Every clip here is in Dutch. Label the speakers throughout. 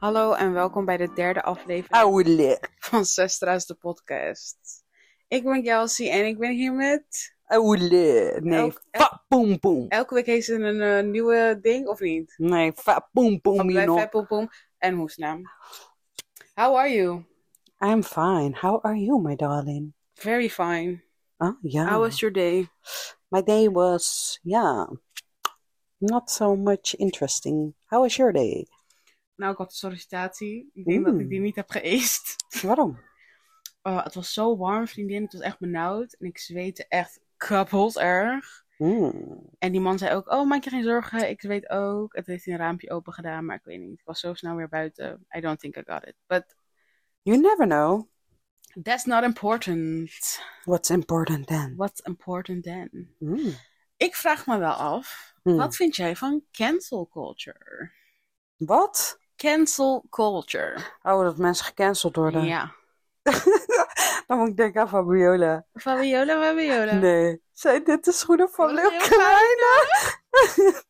Speaker 1: Hallo en welkom bij de derde aflevering
Speaker 2: Oude,
Speaker 1: van Sestra's de podcast. Ik ben Kelsey en ik ben hier met...
Speaker 2: oude, nee,
Speaker 1: Elk-
Speaker 2: fa poem poem.
Speaker 1: Elke week heeft ze een eh, nieuwe ding, of niet?
Speaker 2: Nee, fa poem poem, you
Speaker 1: Bij
Speaker 2: know.
Speaker 1: Veppel, Poem en Hoesnaam. How are you?
Speaker 2: I'm fine. How are you, my darling?
Speaker 1: Very fine.
Speaker 2: Oh, yeah.
Speaker 1: How was your day?
Speaker 2: My day was, yeah, not so much interesting. How was your day?
Speaker 1: Nou, ik had een sollicitatie. Ik denk dat ik die niet heb geëist.
Speaker 2: Waarom?
Speaker 1: Oh, het was zo warm, vriendin. Het was echt benauwd. En ik zweette echt kapot erg.
Speaker 2: Hmm.
Speaker 1: En die man zei ook, oh, maak je geen zorgen. Ik zweet ook. Het heeft een raampje open gedaan, maar ik weet niet. Ik was zo snel weer buiten. I don't think I got it. But
Speaker 2: You never know
Speaker 1: that's not important.
Speaker 2: what's important then.
Speaker 1: What's important then?
Speaker 2: Hmm.
Speaker 1: Ik vraag me wel af,
Speaker 2: Hmm.
Speaker 1: wat vind jij van cancel culture?
Speaker 2: Wat?
Speaker 1: Cancel culture.
Speaker 2: Oh, dat mensen gecanceld worden.
Speaker 1: Ja.
Speaker 2: Dan moet ik denken aan Fabiola.
Speaker 1: Fabiola, Fabiola.
Speaker 2: Nee. Zij dit de schoenen van
Speaker 1: Wat is
Speaker 2: Leeuw
Speaker 1: heel
Speaker 2: Kleine?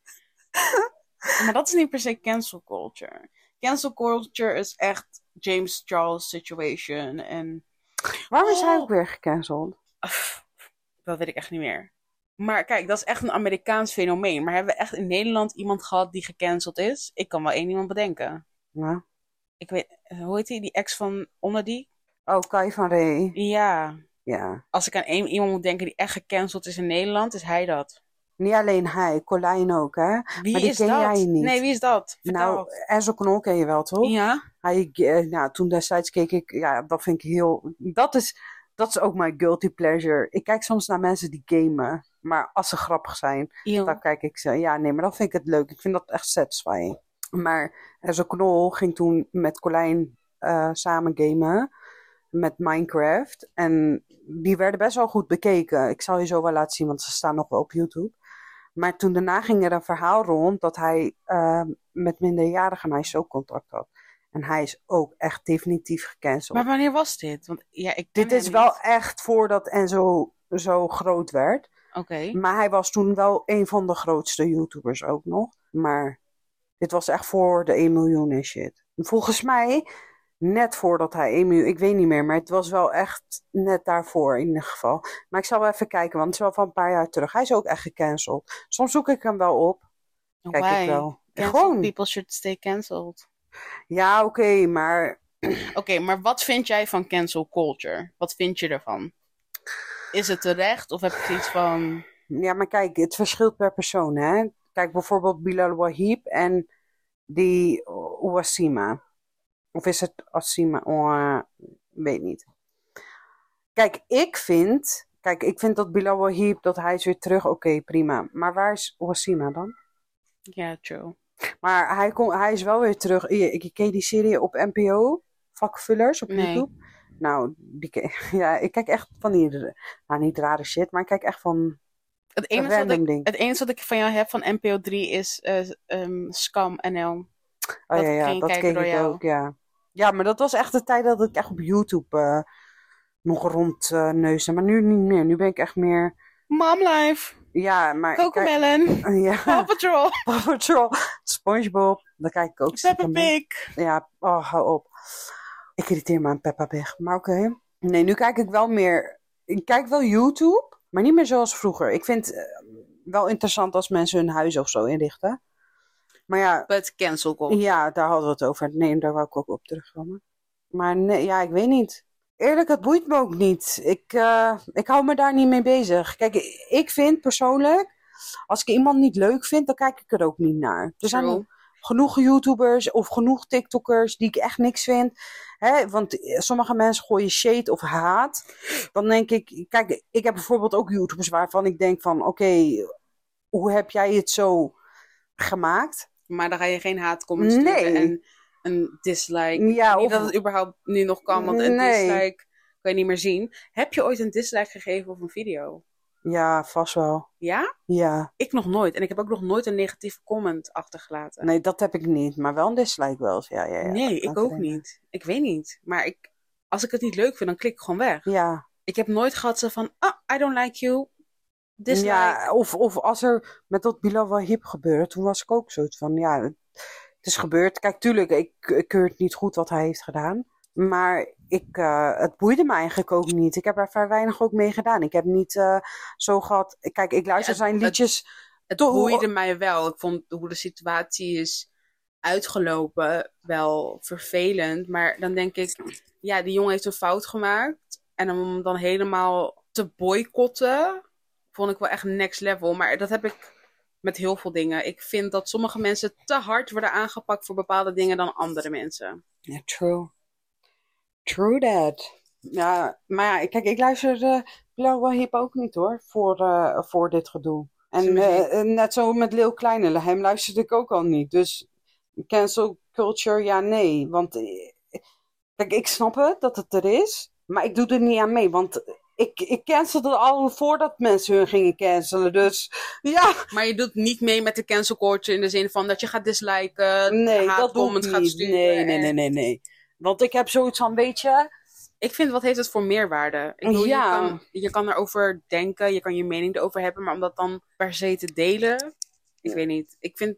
Speaker 1: Maar dat is niet per se cancel culture. Cancel culture is echt James Charles situation en...
Speaker 2: Waarom is hij
Speaker 1: Oh.
Speaker 2: ook weer gecanceld?
Speaker 1: Pff, Dat weet ik echt niet meer. Maar kijk, dat is echt een Amerikaans fenomeen. Maar hebben we echt in Nederland iemand gehad die gecanceld is? Ik kan wel één iemand bedenken.
Speaker 2: Ja.
Speaker 1: Ik weet, eh, hoe heet die? Die ex van onder die?
Speaker 2: Oh, Kai van Ree.
Speaker 1: Ja.
Speaker 2: Ja.
Speaker 1: Als ik aan één iemand moet denken die echt gecanceld is in Nederland, is hij dat.
Speaker 2: Niet alleen hij, Colijn ook, hè?
Speaker 1: Wie
Speaker 2: Maar die
Speaker 1: is
Speaker 2: ken
Speaker 1: dat?
Speaker 2: jij niet.
Speaker 1: Nee, wie is dat? Vertel.
Speaker 2: Nou, Enzo Knol ken je wel, toch?
Speaker 1: ja.
Speaker 2: Hij, eh, nou, toen destijds keek ik, ja, dat vind ik heel. Dat is, dat is ook mijn guilty pleasure. Ik kijk soms naar mensen die gamen, maar als ze grappig zijn,
Speaker 1: Eeuw.
Speaker 2: dan kijk ik ze. Ja, nee, maar dan vind ik het leuk. Ik vind dat echt satisfying. Maar Enzo Knol ging toen met Colijn eh, samen gamen met Minecraft. En die werden best wel goed bekeken. Ik zal je zo wel laten zien, want ze staan nog wel op YouTube. Maar toen daarna ging er een verhaal rond dat hij eh, met minderjarigen meisjes ook contact had. En hij is ook echt definitief gecanceld.
Speaker 1: Maar wanneer was dit? Want ja, ik ken
Speaker 2: Dit is
Speaker 1: hem
Speaker 2: wel
Speaker 1: niet.
Speaker 2: echt voordat Enzo zo groot werd.
Speaker 1: Oké.
Speaker 2: Maar hij was toen wel een van de grootste YouTubers ook nog. Maar dit was echt voor de 1 miljoen en shit. Volgens mij, net voordat hij 1 miljoen, ik weet niet meer, maar het was wel echt net daarvoor in ieder geval. Maar ik zal wel even kijken, want het is wel van een paar jaar terug. Hij is ook echt gecanceld. Soms zoek ik hem wel op. Kijk
Speaker 1: Why?
Speaker 2: ik wel.
Speaker 1: Cancel
Speaker 2: Gewoon.
Speaker 1: people should stay cancelled.
Speaker 2: Ja, oké, maar
Speaker 1: Oké, maar wat vind jij van cancel culture? Wat vind je ervan? Is het terecht of heb je iets van.
Speaker 2: Ja, maar kijk, het verschilt per persoon, hè? Kijk, bijvoorbeeld Bilal Wahib en die Wasima. Of is het Asima? Oh, weet niet. Kijk, ik vind... Kijk, ik vind dat Bilal Wahib, dat hij is weer terug. Oké, prima. Maar waar is Wasima dan?
Speaker 1: Ja, true.
Speaker 2: Maar hij, kon, hij is wel weer terug. Je, je ken je die serie op NPO? Vakvullers op
Speaker 1: Nee.
Speaker 2: YouTube? Nou, die, ke- ja, ik kijk echt van die... Nou, niet rare shit, maar ik kijk echt van
Speaker 1: Het enige, wat
Speaker 2: random
Speaker 1: ik,
Speaker 2: dingen.
Speaker 1: het enige wat ik van jou heb van NPO3 is eh, ehm, Scam NL.
Speaker 2: Oh
Speaker 1: Dat
Speaker 2: ja, ja,
Speaker 1: ging ik
Speaker 2: dat
Speaker 1: kijken
Speaker 2: keek
Speaker 1: door
Speaker 2: ik
Speaker 1: jou.
Speaker 2: ook, ja. Ja, maar dat was echt de tijd dat ik echt op YouTube eh, nog rond eh, neusde. Maar nu niet meer. Nu ben ik echt meer...
Speaker 1: Mom Life,
Speaker 2: Ja, maar... ik kijk-
Speaker 1: Cocomelon, Paw
Speaker 2: Ja,
Speaker 1: Patrol,
Speaker 2: Paw Patrol, Spongebob. Daar kijk ik ook
Speaker 1: Peppa
Speaker 2: stiekem mee.
Speaker 1: Pig.
Speaker 2: Ja, oh, hou op. Ik irriteer me aan Peppa Pig. Maar oké. Nee, nu kijk ik wel meer... Ik kijk wel YouTube, maar niet meer zoals vroeger. Ik vind eh, wel interessant als mensen hun huis of zo inrichten. Maar ja,
Speaker 1: But cancel culture.
Speaker 2: Ja, daar hadden we het over. Nee, daar wou ik ook op terugkomen. Maar nee, ja, ik weet niet. Eerlijk, het boeit me ook niet. Ik, eh, ik hou me daar niet mee bezig. Kijk, ik vind persoonlijk, als ik iemand niet leuk vind, dan kijk ik er ook niet naar. Er zijn
Speaker 1: True.
Speaker 2: genoeg YouTubers of genoeg TikTokkers die ik echt niks vind. Hè? Want sommige mensen gooien shade of haat. Dan denk ik, kijk, ik heb bijvoorbeeld ook YouTubers waarvan ik denk van, oké, hoe heb jij het zo gemaakt?
Speaker 1: Maar dan ga je geen haatcomments
Speaker 2: Nee.
Speaker 1: sturen en een dislike.
Speaker 2: Ja,
Speaker 1: niet
Speaker 2: of-
Speaker 1: dat het überhaupt nu nog kan, want een
Speaker 2: Nee.
Speaker 1: dislike kan je niet meer zien. Heb je ooit een dislike gegeven op een video?
Speaker 2: Ja, vast wel.
Speaker 1: Ja?
Speaker 2: Ja,
Speaker 1: Ik nog nooit. En ik heb ook nog nooit een negatieve comment achtergelaten.
Speaker 2: nee, dat heb ik niet. Maar wel een dislike wel eens. Ja, ja, ja.
Speaker 1: nee, ik
Speaker 2: Laat
Speaker 1: ook
Speaker 2: erin.
Speaker 1: niet. Ik weet niet. Maar ik, als ik het niet leuk vind, dan klik ik gewoon weg.
Speaker 2: Ja,
Speaker 1: Ik heb nooit gehad zo van, ah, I don't like you. Dislike.
Speaker 2: ja of, of als er met dat Bilal Wahib gebeurde, toen was ik ook zoiets van, ja, het is gebeurd. Kijk, tuurlijk, ik, ik keur het niet goed wat hij heeft gedaan. Maar ik, eh, het boeide me eigenlijk ook niet. Ik heb er vrij weinig ook mee gedaan. Ik heb niet eh, zo gehad. Kijk, ik luister
Speaker 1: Ja, het-
Speaker 2: zijn
Speaker 1: het-
Speaker 2: liedjes.
Speaker 1: Het
Speaker 2: Toch-
Speaker 1: boeide mij wel. Ik vond hoe de situatie is uitgelopen wel vervelend. Maar dan denk ik, ja, die jongen heeft een fout gemaakt. En om hem dan helemaal te boycotten, vond ik wel echt next level. Maar dat heb ik met heel veel dingen. Ik vind dat sommige mensen te hard worden aangepakt voor bepaalde dingen dan andere mensen.
Speaker 2: Ja, true. True that. Ja, maar ja, kijk, ik luister eh Blauwe Hip ook niet hoor, voor, eh, voor dit gedoe. En
Speaker 1: Zijn muziek.
Speaker 2: eh, eh, net zo met Lil Kleine, hem luisterde ik ook al niet. Dus cancel culture, ja, nee. Want eh, kijk, ik snap het dat het er is, maar ik doe er niet aan mee. Want ik, ik cancelde al voordat mensen hun gingen cancelen. Dus ja,
Speaker 1: Maar je doet niet mee met de cancel culture in de zin van dat je gaat disliken,
Speaker 2: nee, dat doe
Speaker 1: haatcomment
Speaker 2: ik
Speaker 1: gaat
Speaker 2: niet.
Speaker 1: sturen.
Speaker 2: Nee, nee,
Speaker 1: en-
Speaker 2: nee, nee, nee. Want ik heb zoiets van, weet je...
Speaker 1: Ik vind, wat heeft het voor meerwaarde? Ik bedoel,
Speaker 2: Ja.
Speaker 1: je, kan, je kan erover denken, je kan je mening erover hebben, maar om dat dan per se te delen, ik weet niet. Ik vind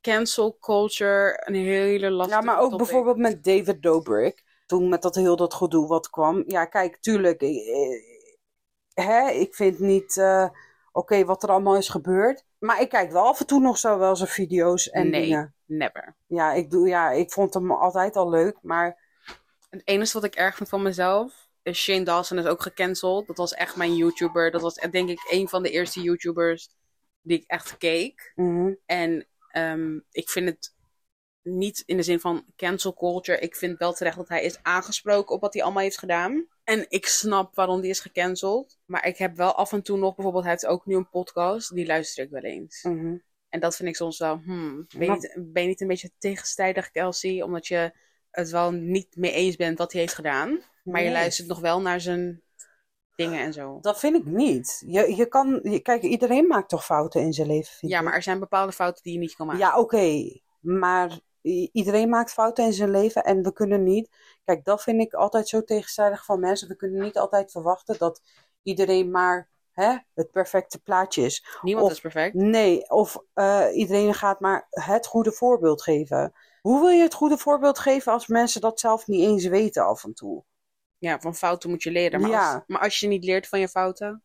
Speaker 1: cancel culture een hele lastige
Speaker 2: Ja, maar ook
Speaker 1: topic.
Speaker 2: bijvoorbeeld met David Dobrik. Toen met dat heel dat gedoe wat kwam. Ja, kijk, tuurlijk. Ik, eh, hè, ik vind niet eh, oké wat er allemaal is gebeurd. Maar ik kijk wel af en toe nog zo wel zijn video's en
Speaker 1: Nee.
Speaker 2: dingen.
Speaker 1: Never.
Speaker 2: Ja ik, doe, ja, ik vond hem altijd al leuk. Maar
Speaker 1: Het enige wat ik erg vind van mezelf, is Shane Dawson is ook gecanceld. Dat was echt mijn YouTuber. Dat was eh, denk ik een van de eerste YouTubers die ik echt keek.
Speaker 2: mhm,
Speaker 1: En ehm, ik vind het niet in de zin van cancel culture. Ik vind wel terecht dat hij is aangesproken op wat hij allemaal heeft gedaan. En ik snap waarom die is gecanceld. Maar ik heb wel af en toe nog, bijvoorbeeld, hij heeft ook nu een podcast. Die luister ik wel eens.
Speaker 2: mhm.
Speaker 1: En dat vind ik soms wel, hmm, ben je,
Speaker 2: Maar-
Speaker 1: niet, ben je niet een beetje tegenstrijdig, Kelsey? Omdat je het wel niet mee eens bent wat hij heeft gedaan. Maar je
Speaker 2: Nee.
Speaker 1: luistert nog wel naar zijn dingen en zo.
Speaker 2: dat vind ik niet. Je, je kan, je- kijk, iedereen maakt toch fouten in zijn leven. vind
Speaker 1: Ja,
Speaker 2: ik.
Speaker 1: maar er zijn bepaalde fouten die je niet kan maken.
Speaker 2: Ja, oké. Maar i- iedereen maakt fouten in zijn leven en we kunnen niet. Kijk, dat vind ik altijd zo tegenstrijdig van mensen. We kunnen niet altijd verwachten dat iedereen maar hè, het perfecte plaatje is.
Speaker 1: Niemand
Speaker 2: Of-
Speaker 1: is perfect.
Speaker 2: Nee, of eh, iedereen gaat maar het goede voorbeeld geven. Hoe wil je het goede voorbeeld geven als mensen dat zelf niet eens weten af en toe?
Speaker 1: Ja, van fouten moet je leren. Maar,
Speaker 2: Ja.
Speaker 1: als, maar als je niet leert van je fouten.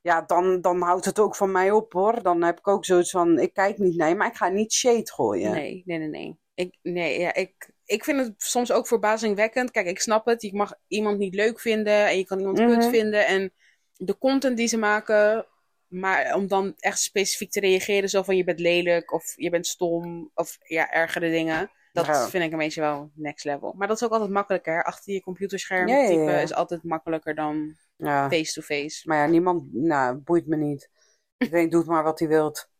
Speaker 2: Ja, dan, dan houdt het ook van mij op hoor. Dan heb ik ook zoiets van, ik kijk niet naar je, maar ik ga niet shade gooien.
Speaker 1: Nee, nee, nee, nee. Ik, nee ja, ik, ik vind het soms ook verbazingwekkend. Kijk, ik snap het. Je mag iemand niet leuk vinden. En je kan iemand
Speaker 2: Mhm.
Speaker 1: kut vinden. En de content die ze maken. Maar om dan echt specifiek te reageren. Zo van je bent lelijk. Of je bent stom. Of ja, ergere dingen. Dat
Speaker 2: Ja.
Speaker 1: vind ik een beetje wel next level. Maar dat is ook altijd makkelijker. hè. Achter je computerscherm
Speaker 2: Ja, ja,
Speaker 1: typen
Speaker 2: ja.
Speaker 1: is altijd makkelijker dan
Speaker 2: Ja.
Speaker 1: face-to-face.
Speaker 2: Maar ja, niemand, nou, boeit me niet. Iedereen doet maar wat hij wilt.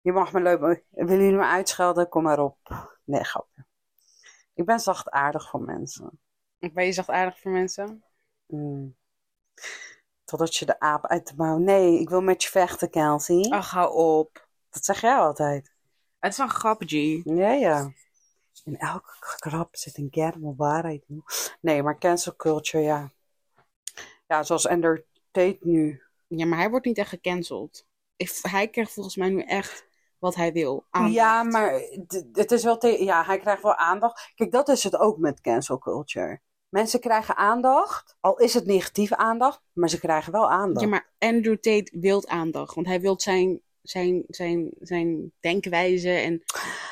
Speaker 2: Je mag me leuk, willen jullie me uitschelden? Kom maar op. Nee, grapje. Ik ben zachtaardig voor mensen.
Speaker 1: Ben je zacht aardig voor mensen?
Speaker 2: Mm. Totdat je de aap uit de mouw. Nee, ik wil met je vechten, Kelsey.
Speaker 1: Ach, hou op.
Speaker 2: Dat zeg jij altijd.
Speaker 1: Het is een grap, G.
Speaker 2: Ja, ja. In elke grap zit een kern van waarheid. Nee, maar cancel culture, ja. Ja, zoals Ender Tate nu.
Speaker 1: Ja, maar hij wordt niet echt gecanceld. Ik- hij krijgt volgens mij nu echt wat hij wil. Aandacht.
Speaker 2: Ja, maar d- het is wel te- ja, hij krijgt wel aandacht. Kijk, dat is het ook met cancel culture. Mensen krijgen aandacht, al is het negatieve aandacht, maar ze krijgen wel aandacht.
Speaker 1: Ja, maar Andrew Tate wil aandacht. Want hij wil zijn, zijn, zijn, zijn denkwijze en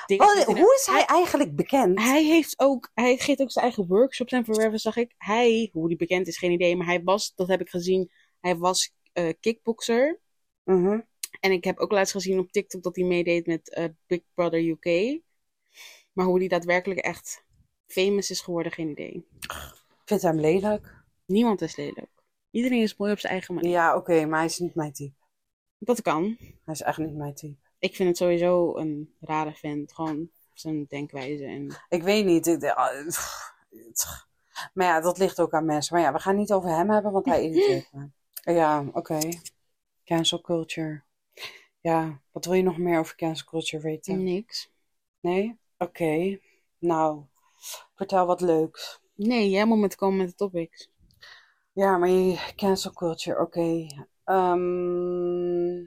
Speaker 1: dingen.
Speaker 2: Wat-
Speaker 1: die hij-
Speaker 2: Oh, hoe is hij eigenlijk bekend?
Speaker 1: Hij heeft ook, hij geeft ook zijn eigen workshops en forever, zag ik. Hij, hoe die bekend is, geen idee. Maar hij was, dat heb ik gezien, hij was eh kickboxer.
Speaker 2: Mhm.
Speaker 1: En ik heb ook laatst gezien op TikTok dat hij meedeed met eh, Big Brother UK. Maar hoe die daadwerkelijk echt famous is geworden, geen idee.
Speaker 2: Ik vind hem lelijk.
Speaker 1: Niemand is lelijk. Iedereen is mooi op zijn eigen manier.
Speaker 2: Ja, oké, maar hij is niet mijn type.
Speaker 1: Dat kan.
Speaker 2: Hij is echt niet mijn type.
Speaker 1: Ik vind het sowieso een rare vent. Gewoon zijn denkwijze. En...
Speaker 2: Ik weet niet. ik- ah, pff, tch. maar ja, dat ligt ook aan mensen. Maar ja, we gaan niet over hem hebben, want hij irriteert me. Ja, oké. Cancel culture. Ja, wat wil je nog meer over cancel culture weten?
Speaker 1: Niks.
Speaker 2: Nee? Oké. Nou, vertel wat leuks.
Speaker 1: Nee, jij moet met komen met de topics.
Speaker 2: Ja, maar je cancel culture, oké. Ehm,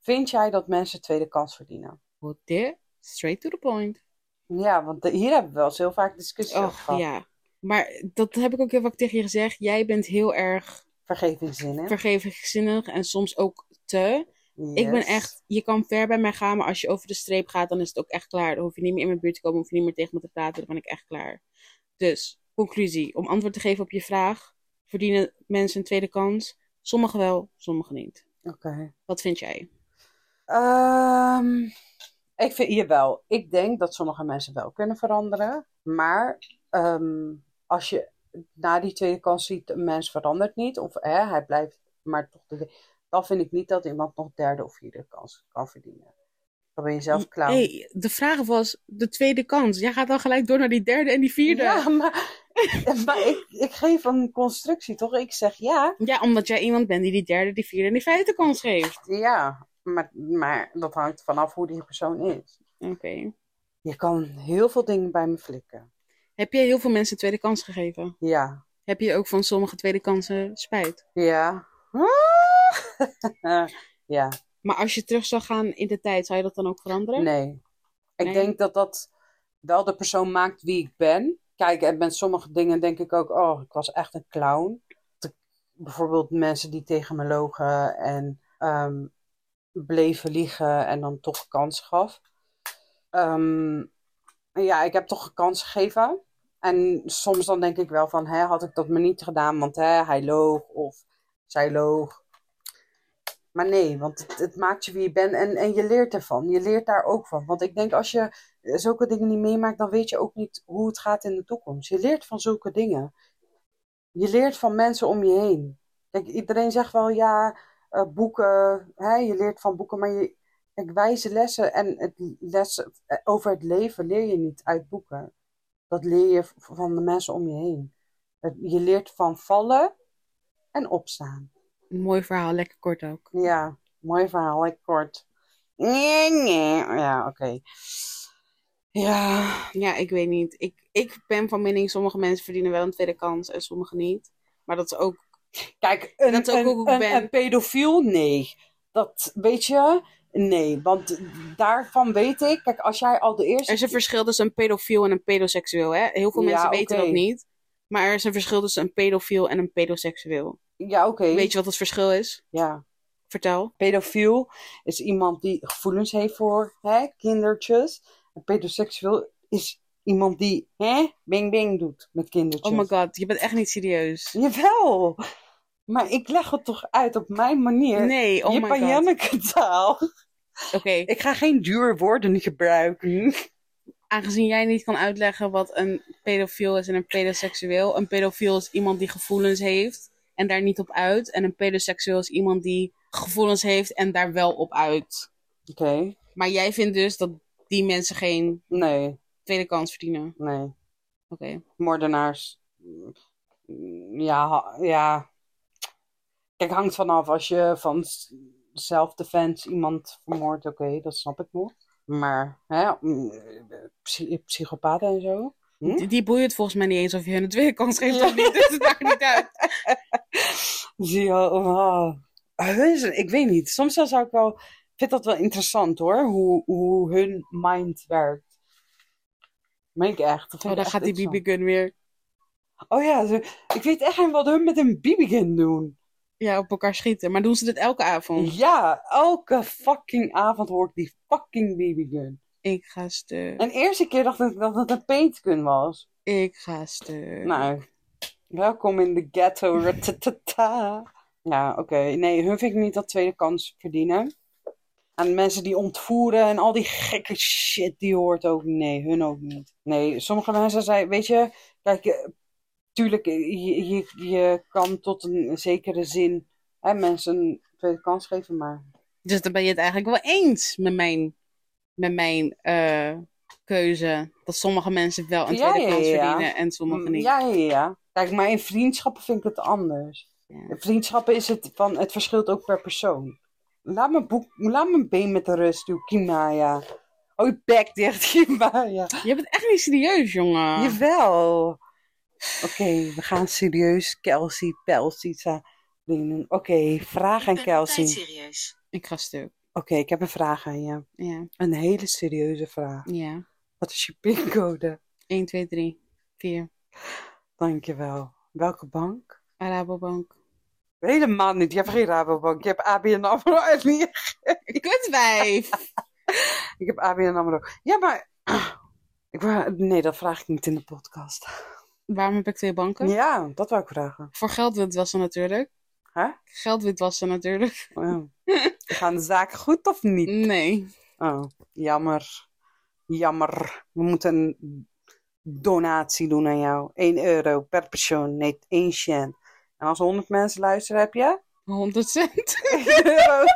Speaker 2: vind jij dat mensen tweede kans verdienen?
Speaker 1: Hoe dit? Straight to the point.
Speaker 2: Ja, want de- hier hebben we wel eens heel vaak discussie over
Speaker 1: Och,
Speaker 2: gehad.
Speaker 1: ja. Maar dat heb ik ook heel vaak tegen je gezegd. Jij bent heel erg
Speaker 2: Vergevingszin, hè?
Speaker 1: vergevingszinnig en soms ook te. Ik ben
Speaker 2: Yes.
Speaker 1: echt, je kan ver bij mij gaan, maar als je over de streep gaat, dan is het ook echt klaar. Dan hoef je niet meer in mijn buurt te komen, hoef je niet meer tegen me te praten, dan ben ik echt klaar. Dus, conclusie, om antwoord te geven op je vraag, verdienen mensen een tweede kans? Sommigen wel, sommigen niet.
Speaker 2: Oké.
Speaker 1: Wat vind jij?
Speaker 2: Ehm, ik vind hier wel. Ik denk dat sommige mensen wel kunnen veranderen. Maar ehm, als je na die tweede kans ziet, een mens verandert niet. Of hè, hij blijft maar toch. De, dan vind ik niet dat iemand nog derde of vierde kans kan verdienen. Dan ben je zelf klaar.
Speaker 1: Hey, de vraag was de tweede kans. Jij gaat dan gelijk door naar die derde en die vierde.
Speaker 2: Ja, maar, maar ik, ik geef een constructie, toch? Ik zeg ja.
Speaker 1: Ja, omdat jij iemand bent die die derde, die vierde en die vijfde kans geeft.
Speaker 2: Ja, maar, maar dat hangt vanaf hoe die persoon is.
Speaker 1: Oké.
Speaker 2: Je kan heel veel dingen bij me flikken.
Speaker 1: Heb jij heel veel mensen een tweede kans gegeven?
Speaker 2: Ja.
Speaker 1: Heb je ook van sommige tweede kansen spijt?
Speaker 2: Ja. ja,
Speaker 1: Maar als je terug zou gaan in de tijd, zou je dat dan ook veranderen?
Speaker 2: nee. Ik
Speaker 1: Nee.
Speaker 2: denk dat dat wel de persoon maakt wie ik ben. Kijk, en met sommige dingen denk ik ook, oh, ik was echt een clown. Te- Bijvoorbeeld mensen die tegen me logen en ehm, bleven liegen en dan toch kans gaf. Ehm, ja, ik heb toch een kans gegeven. En soms dan denk ik wel van, hè, had ik dat maar niet gedaan, want hè, hij loog of zij loog. Maar nee, want het, het maakt je wie je bent en, en je leert ervan. Je leert daar ook van. Want ik denk als je eh, zulke dingen niet meemaakt, dan weet je ook niet hoe het gaat in de toekomst. Je leert van zulke dingen. Je leert van mensen om je heen. Kijk, iedereen zegt wel ja, eh, boeken, hè, je leert van boeken, maar je, kijk, wijze lessen en het lessen eh, over het leven leer je niet uit boeken. Dat leer je v- van de mensen om je heen. Het- Je leert van vallen en opstaan.
Speaker 1: Mooi verhaal, lekker kort ook.
Speaker 2: Ja, mooi verhaal, ik kort. Nee, nee. Ja, oké. Ja,
Speaker 1: Ja, ik weet niet. Ik, ik ben van mening, sommige mensen verdienen wel een tweede kans en sommige niet. Maar dat is ook...
Speaker 2: kijk, een,
Speaker 1: Dat is ook
Speaker 2: een,
Speaker 1: hoe ik
Speaker 2: een-
Speaker 1: ben.
Speaker 2: een pedofiel, nee. Dat, weet je, nee. Want daarvan weet ik, kijk, als jij al de
Speaker 1: Er
Speaker 2: eerste...
Speaker 1: is een verschil tussen een pedofiel en een pedoseksueel, hè? Heel veel
Speaker 2: Ja,
Speaker 1: mensen weten
Speaker 2: oké.
Speaker 1: dat niet. Maar er is een verschil tussen een pedofiel en een pedoseksueel.
Speaker 2: Ja, oké.
Speaker 1: Weet je wat het verschil is?
Speaker 2: Ja,
Speaker 1: Vertel.
Speaker 2: pedofiel is iemand die gevoelens heeft voor hè, kindertjes. En pedoseksueel is iemand die hè, bing bing doet met kindertjes.
Speaker 1: Oh my god, je bent echt niet serieus.
Speaker 2: Jawel! Maar ik leg het toch uit op mijn manier.
Speaker 1: Nee, oh
Speaker 2: je
Speaker 1: my god.
Speaker 2: taal.
Speaker 1: Oké,
Speaker 2: Ik ga geen duur woorden gebruiken.
Speaker 1: aangezien jij niet kan uitleggen wat een pedofiel is en een pedoseksueel. Een pedofiel is iemand die gevoelens heeft en daar niet op uit. En een pedoseksueel is iemand die gevoelens heeft en daar wel op uit.
Speaker 2: Oké,
Speaker 1: Maar jij vindt dus dat die mensen geen
Speaker 2: nee,
Speaker 1: tweede kans verdienen.
Speaker 2: nee.
Speaker 1: Oké.
Speaker 2: Moordenaars. Mm, Ja, ha- ja. Kijk, hangt vanaf als je van s- self-defense iemand vermoordt. Oké, dat snap ik nog. Maar, hè, mm, psy- psychopaten en zo. Hm?
Speaker 1: Die, die boeien het volgens mij niet eens of je hun een tweede kans geeft
Speaker 2: Ja.
Speaker 1: of niet. Dus het maakt niet uit.
Speaker 2: Zie je, wel, oh. Ah, weet je, ik weet niet. Soms dan zou ik wel, ik vind dat wel interessant hoor, hoe, hoe hun mind werkt. Meen ik echt. Dat vind
Speaker 1: Oh,
Speaker 2: ik
Speaker 1: dan
Speaker 2: echt
Speaker 1: gaat die
Speaker 2: interessant.
Speaker 1: BB-gun weer
Speaker 2: Oh ja, ze- ik weet echt niet wat hun met een BB-gun doen.
Speaker 1: ja, op elkaar schieten. Maar doen ze dit elke
Speaker 2: Mm. Hm.
Speaker 1: avond?
Speaker 2: Ja, elke fucking avond hoor ik die fucking BB-gun.
Speaker 1: Ik ga stuk.
Speaker 2: En de eerste keer dacht ik dat het een paintgun was.
Speaker 1: Ik ga stuk.
Speaker 2: Nou, welkom in de ghetto. ratatata. Ja, oké. Nee, hun vind ik niet dat tweede kans verdienen. Aan mensen die ontvoeren en al die gekke shit, die hoort ook. Nee, hun ook niet. Nee, sommige mensen zijn, weet je, kijk, eh, tuurlijk, eh, je, je, je kan tot een zekere zin hè, mensen een tweede kans geven, maar
Speaker 1: Dus dan ben je het eigenlijk wel eens met mijn, met mijn eh, keuze. Dat sommige mensen wel een
Speaker 2: Ja,
Speaker 1: tweede
Speaker 2: ja,
Speaker 1: kans
Speaker 2: ja.
Speaker 1: verdienen en sommige niet.
Speaker 2: Mm, Ja, ja, ja. Kijk, maar in vriendschappen vind ik het anders.
Speaker 1: Ja.
Speaker 2: In vriendschappen is het van, het verschilt ook per persoon. Laat mijn, boek, laat mijn been met de rust doen, Kimaya. Oh, je bek dicht, Kimaya.
Speaker 1: Je bent echt niet serieus, jongen.
Speaker 2: Jawel. Oké, we gaan serieus Kelsey, Pelsica doen. Oké, vraag aan Kelsey.
Speaker 1: Ik ga stuk.
Speaker 2: ik heb een vraag aan je.
Speaker 1: Ja.
Speaker 2: Een hele serieuze vraag.
Speaker 1: Ja.
Speaker 2: Wat is je pincode?
Speaker 1: 1, 2, 3, 4.
Speaker 2: Dankjewel. Welke bank?
Speaker 1: Arabobank.
Speaker 2: Helemaal niet. Je hebt geen Rabobank. Je hebt ABN AMRO. en niet-
Speaker 1: Kutwijf!
Speaker 2: Ik heb ABN AMRO. Ja, maar... Ik wou- Nee, dat vraag ik niet in de podcast.
Speaker 1: Waarom heb ik twee banken?
Speaker 2: Ja, dat wou ik vragen.
Speaker 1: Voor geld witwassen natuurlijk.
Speaker 2: Huh?
Speaker 1: Geld witwassen natuurlijk.
Speaker 2: Oh, Ja. Gaan de zaken goed of niet?
Speaker 1: Nee.
Speaker 2: Oh, jammer. Jammer. We moeten een donatie doen aan jou. 1 euro per persoon. Nee, 1 cent. En als 100 mensen luisteren, heb je
Speaker 1: 100 cent.
Speaker 2: 1 euro.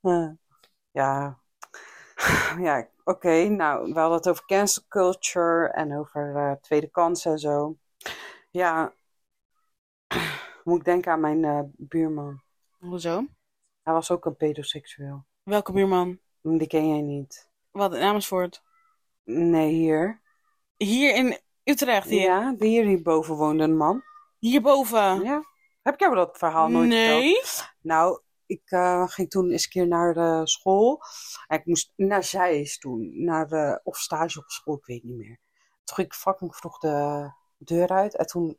Speaker 2: Eh, ja. Ja, oké. Nou, we hadden het over cancel culture en over eh, tweede kansen en zo. Ja. Moet ik denken aan mijn eh, buurman.
Speaker 1: Hoezo?
Speaker 2: Hij was ook een pedoseksueel. Mm,
Speaker 1: Welke buurman?
Speaker 2: Die ken jij niet.
Speaker 1: Wat, in Amersfoort?
Speaker 2: Nee, hier.
Speaker 1: Hier in Utrecht, hier.
Speaker 2: Ja, die hier hierboven woonde een man.
Speaker 1: Hierboven.
Speaker 2: Ja. Heb jij me dat verhaal nooit verteld?
Speaker 1: nee.
Speaker 2: Nou, ik eh, ging toen eens een keer naar de school. En ik moest naar Zeist toen. Naar de, of stage op school, ik weet niet meer. Toen ging ik fucking vroeg de deur uit. En toen,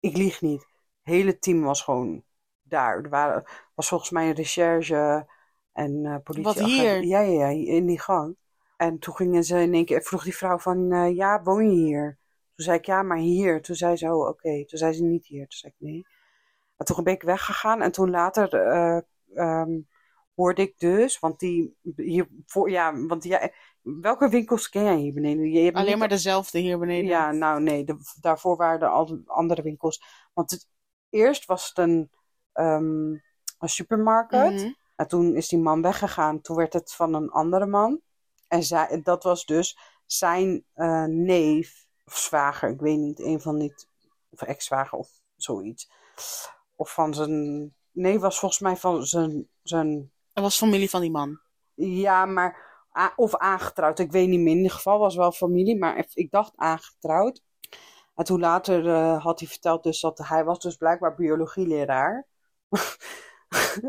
Speaker 2: ik lieg niet. Het hele team was gewoon daar. Er waren, was volgens mij een recherche en eh politie.
Speaker 1: hier?
Speaker 2: Ja, ja, ja, in die gang. En toen gingen ze in één keer, vroeg die vrouw van, eh, ja, woon je hier? Toen zei ik, ja, maar hier. Toen zei ze, oh, oké. Toen zei ze niet hier. Toen zei ik, nee. En toen ben ik weggegaan en toen later eh, ehm, hoorde ik dus, want die hier voor, ja, want jij, welke winkels ken jij hier beneden? Je hebt niet-
Speaker 1: Alleen maar dezelfde hier beneden.
Speaker 2: Ja, nou nee, de- daarvoor waren er al andere winkels. Want het, eerst was het een, ehm, een supermarket.
Speaker 1: Mhm.
Speaker 2: En Nou, toen is die man weggegaan. Toen werd het van een andere man. En zij, dat was dus zijn eh, neef of zwager. Ik weet niet, een van niet. Of ex-zwager of zoiets. Of van zijn. Nee, was volgens mij van zijn. zijn
Speaker 1: Dat was familie van die man.
Speaker 2: ja, maar. a- Of aangetrouwd. Ik weet niet meer. In ieder geval was wel familie. Maar ik- ik dacht aangetrouwd. En toen later eh, had hij verteld dus dat hij was dus blijkbaar biologieleraar.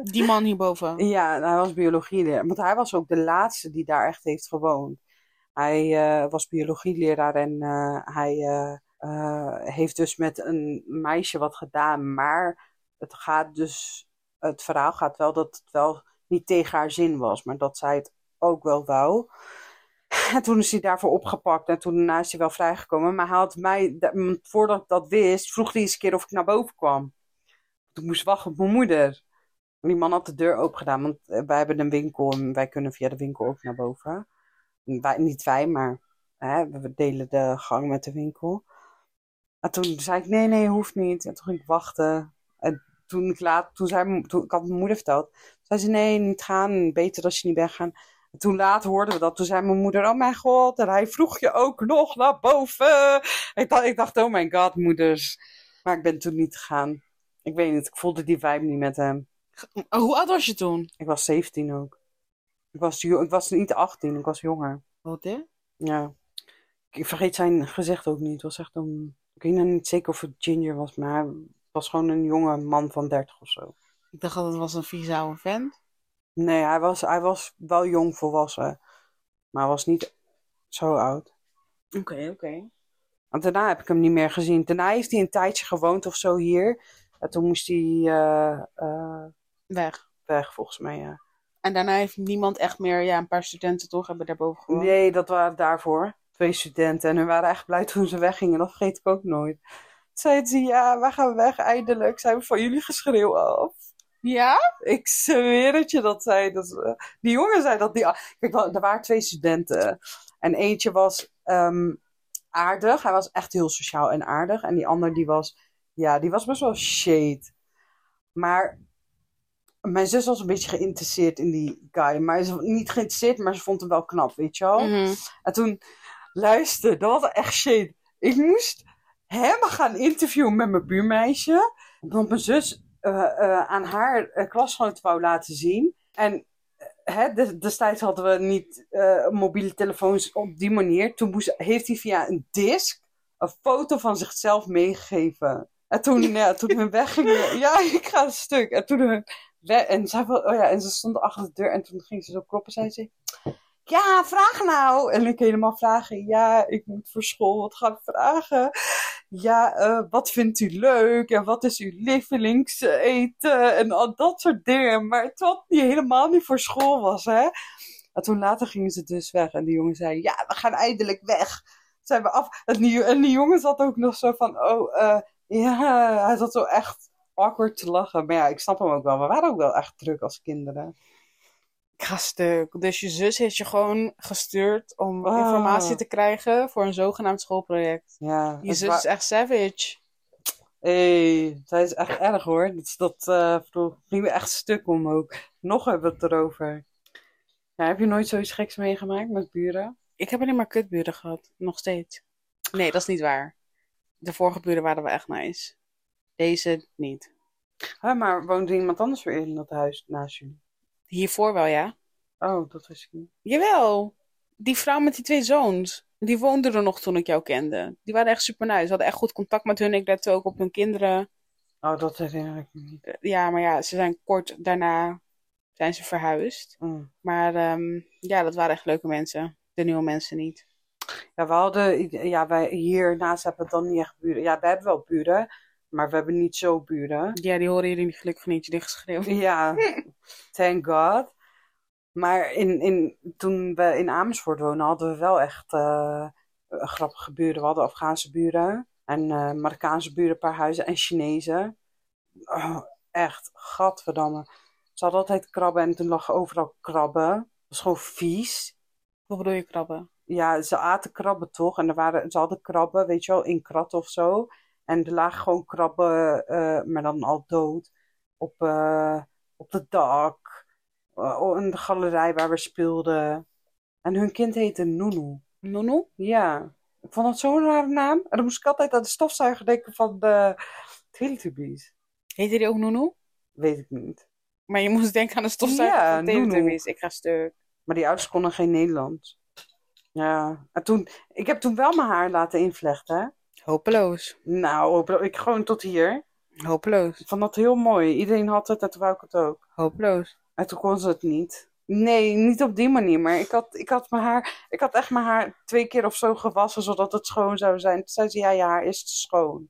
Speaker 1: Die man hierboven.
Speaker 2: Ja, en hij was biologieleraar. Want hij was ook de laatste die daar echt heeft gewoond. Hij eh, was biologieleraar en eh, hij eh, eh, heeft dus met een meisje wat gedaan. Maar het gaat dus, het verhaal gaat wel dat het wel niet tegen haar zin was, maar dat zij het ook wel wou. En toen is hij daarvoor opgepakt en toen daarna is hij wel vrijgekomen. Maar hij had mij, da- want voordat ik dat wist, vroeg hij eens een keer of ik naar boven kwam. Toen moest ik wachten op mijn moeder. Die man had de deur open gedaan, want eh, wij hebben een winkel en wij kunnen via de winkel ook naar boven. Wij, niet wij, maar hè, we delen de gang met de winkel. En toen zei ik, nee, nee, hoeft niet. En toen ging ik wachten. En toen ik laat, toen zei, m- toen, ik had mijn moeder verteld. Toen zei ze, nee, niet gaan, beter als je niet bent gaan. En toen laat hoorden we dat. Toen zei mijn moeder, oh mijn god, en hij vroeg je ook nog naar boven. Ik dacht, ik dacht oh mijn god, moeders. Maar ik ben toen niet gegaan. Ik weet niet, ik voelde die vibe niet met hem.
Speaker 1: Oh, Hoe oud was je toen?
Speaker 2: Ik was 17 ook. Ik was, jo- ik was niet 18, ik was jonger.
Speaker 1: Wat hè?
Speaker 2: Ja. Ik vergeet zijn gezicht ook niet. Het was echt een. Ik weet nou niet zeker of het Ginger was, maar hij was gewoon een jonge man van 30 of zo.
Speaker 1: Ik dacht dat het was een vieze oude vent.
Speaker 2: Nee, hij was, hij was wel jong volwassen, maar hij was niet zo oud.
Speaker 1: Oké, oké.
Speaker 2: Want daarna heb ik hem niet meer gezien. Daarna heeft hij een tijdje gewoond of zo hier. En toen moest hij eh, eh,
Speaker 1: Weg.
Speaker 2: weg, volgens mij. Ja.
Speaker 1: En daarna heeft niemand echt meer... Ja, een paar studenten toch hebben daarboven gewoond.
Speaker 2: Nee, dat waren daarvoor. Twee studenten. En hun waren echt blij toen ze weggingen. Dat vergeet ik ook nooit. Toen Zeiden ze, ja, wij gaan weg. Eindelijk zijn we van jullie geschreeuw af.
Speaker 1: Ja?
Speaker 2: Ik zweer het je dat zij... Dat, ze- die jongen zei dat die... Kijk, wel, er waren twee studenten. En eentje was ehm, aardig. Hij was echt heel sociaal en aardig. En die ander, die was... Ja, die was best wel shade. Maar... Mijn zus was een beetje geïnteresseerd in die guy. Maar ze, niet geïnteresseerd, maar ze vond hem wel knap, weet je wel?
Speaker 1: Mhm.
Speaker 2: En toen, luister, dat was echt shit. Ik moest hem gaan interviewen met mijn buurmeisje. Want mijn zus eh, eh, aan haar uh, klasgenoot wou laten zien. En eh, hè, des- destijds hadden we niet eh, mobiele telefoons op die manier. Toen moest, heeft hij via een disc een foto van zichzelf meegegeven. En toen, ja, toen hun weggingen, ja, ik ga een stuk. En toen hun we- en, zij, wil- oh ja, en ze stond achter de deur en toen ging ze zo kloppen. Zei ze, ja, vraag nou. En ik helemaal vragen, ja, ik moet voor school wat gaan vragen. Ja, eh, wat vindt u leuk? En wat is uw lievelingseten? En al dat soort dingen. Maar het was niet helemaal niet voor school was, hè. En toen later gingen ze dus weg. En die jongen zei, ja, we gaan eindelijk weg. Zijn we af. En die, en die jongen zat ook nog zo van, oh, eh, ja. Hij zat zo echt awkward te lachen. Maar ja, ik snap hem ook wel. We waren ook wel echt druk als kinderen.
Speaker 1: Ik ga stuk. Dus je zus heeft je gewoon gestuurd om
Speaker 2: Ah.
Speaker 1: informatie te krijgen voor een zogenaamd schoolproject.
Speaker 2: Ja,
Speaker 1: Je
Speaker 2: het
Speaker 1: zus
Speaker 2: wa-
Speaker 1: is echt savage.
Speaker 2: Hey, zij is echt erg hoor. Dat, dat eh, ik bedoel, ging me echt stuk om ook. Nog hebben we het erover. Ja, heb je nooit zoiets geks meegemaakt met buren?
Speaker 1: Ik heb alleen maar kutburen gehad. Nog steeds. Nee, dat is niet waar. De vorige buren waren wel echt nice. Deze niet.
Speaker 2: Hè, maar woonde iemand anders weer in dat huis naast jullie?
Speaker 1: Hiervoor wel, ja.
Speaker 2: Oh, dat wist ik niet.
Speaker 1: Jawel. Die vrouw met die twee zoons. Die woonden er nog toen ik jou kende. Die waren echt super nice. We hadden echt goed contact met hun. Ik lette ook op hun kinderen.
Speaker 2: Oh, dat herinner ik me niet.
Speaker 1: Eh, Ja, maar ja, ze zijn kort daarna zijn ze verhuisd.
Speaker 2: Mm.
Speaker 1: Maar ehm, ja, dat waren echt leuke mensen. De nieuwe mensen niet.
Speaker 2: Ja, we hadden, ja, wij hiernaast hebben we dan niet echt buren. Ja, we hebben wel buren, maar we hebben niet zo buren.
Speaker 1: Ja, die horen jullie gelukkig niet. Jullie geschreeuw.
Speaker 2: Ja, thank God. Maar in, in, toen we in Amersfoort woonden, hadden we wel echt eh, grappige buren. We hadden Afghaanse buren en eh, Marokkaanse buren, een paar huizen en Chinezen. Oh, echt, gadverdamme. Ze hadden altijd krabben en toen lagen overal krabben. Dat was gewoon vies.
Speaker 1: Wat bedoel je krabben?
Speaker 2: Ja, ze aten krabben toch? En er waren, ze hadden krabben, weet je wel, in krat of zo. En er lagen gewoon krabben, eh, maar dan al dood, op, eh, op het dak. eh, in de galerij waar we speelden. En hun kind heette Noeno.
Speaker 1: Noenoe?
Speaker 2: Ja, ik vond dat zo'n rare naam. En dan moest ik altijd aan de stofzuiger denken van de Teletubbies.
Speaker 1: Heette die ook Noenoe?
Speaker 2: Weet ik niet.
Speaker 1: Maar je moest denken aan de stofzuiger
Speaker 2: Ja,
Speaker 1: van
Speaker 2: Noenoe.
Speaker 1: Teletubbies. Ik ga stuk.
Speaker 2: Maar die ouders konden geen Nederlands. Ja, en toen, ik heb toen wel mijn haar laten invlechten. hè.
Speaker 1: Hopeloos.
Speaker 2: Nou, ik gewoon tot hier.
Speaker 1: Hopeloos.
Speaker 2: Ik vond dat heel mooi. Iedereen had het en toen wou ik het ook.
Speaker 1: Hopeloos.
Speaker 2: En toen kon ze het niet. Nee, niet op die manier. Maar ik had, ik had, mijn haar, ik had echt mijn haar twee keer of zo gewassen, zodat het schoon zou zijn. Toen zei ze, ja, je haar is te schoon.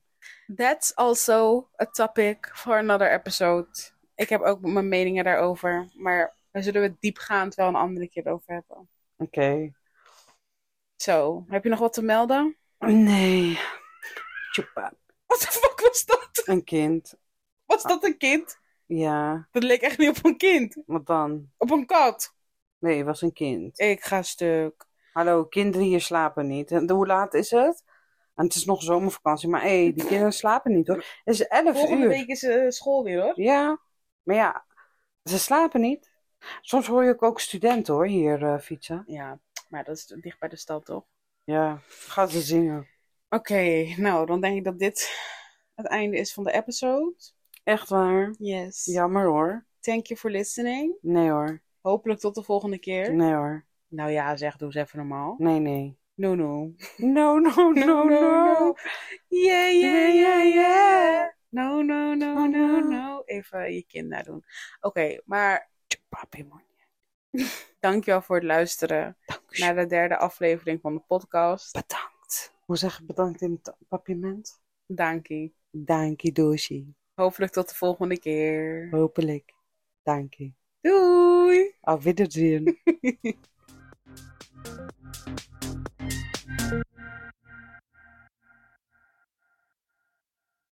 Speaker 1: That's also a topic for another episode. Ik heb ook mijn meningen daarover. Maar daar zullen we het diepgaand wel een andere keer over hebben.
Speaker 2: Oké.
Speaker 1: Zo, heb je nog wat te melden?
Speaker 2: Nee. Tjoepa.
Speaker 1: What the fuck was dat?
Speaker 2: Een kind.
Speaker 1: Was dat een kind?
Speaker 2: Ja,
Speaker 1: Dat leek echt niet op een kind.
Speaker 2: wat dan?
Speaker 1: Op een kat.
Speaker 2: Nee, het was een kind.
Speaker 1: Ik ga stuk.
Speaker 2: Hallo, kinderen hier slapen niet. En hoe laat is het? En het is nog zomervakantie, maar hé, die kinderen slapen niet hoor. Het is 11
Speaker 1: Volgende
Speaker 2: uur.
Speaker 1: week is eh, school weer hoor.
Speaker 2: Ja, maar ja, ze slapen niet. Soms hoor je ook, ook studenten hoor, hier eh, fietsen.
Speaker 1: Ja, maar dat is dicht bij de stad toch?
Speaker 2: Ja, gaan ze zingen.
Speaker 1: Oké, nou dan denk ik dat dit het einde is van de episode.
Speaker 2: Echt waar.
Speaker 1: Yes.
Speaker 2: Jammer hoor.
Speaker 1: Thank you for listening.
Speaker 2: Nee hoor.
Speaker 1: Hopelijk tot de volgende keer.
Speaker 2: Nee hoor.
Speaker 1: Nou ja, zeg, doe eens even normaal.
Speaker 2: Nee, nee.
Speaker 1: No, no.
Speaker 2: No, no, no, no.
Speaker 1: Yeah, yeah, yeah, yeah. No, no, no,
Speaker 2: Oh,
Speaker 1: no,
Speaker 2: no.
Speaker 1: no. Even je kind nadoen. Oké, maar... Papi, man. Dankjewel voor het luisteren naar de derde aflevering van de podcast.
Speaker 2: Bedankt. Hoe zeg je bedankt in het papierment?
Speaker 1: Dankie.
Speaker 2: Dankie, Doshi.
Speaker 1: Hopelijk tot de volgende keer.
Speaker 2: Hopelijk. Dankie.
Speaker 1: Doei!
Speaker 2: Auf Wiedersehen.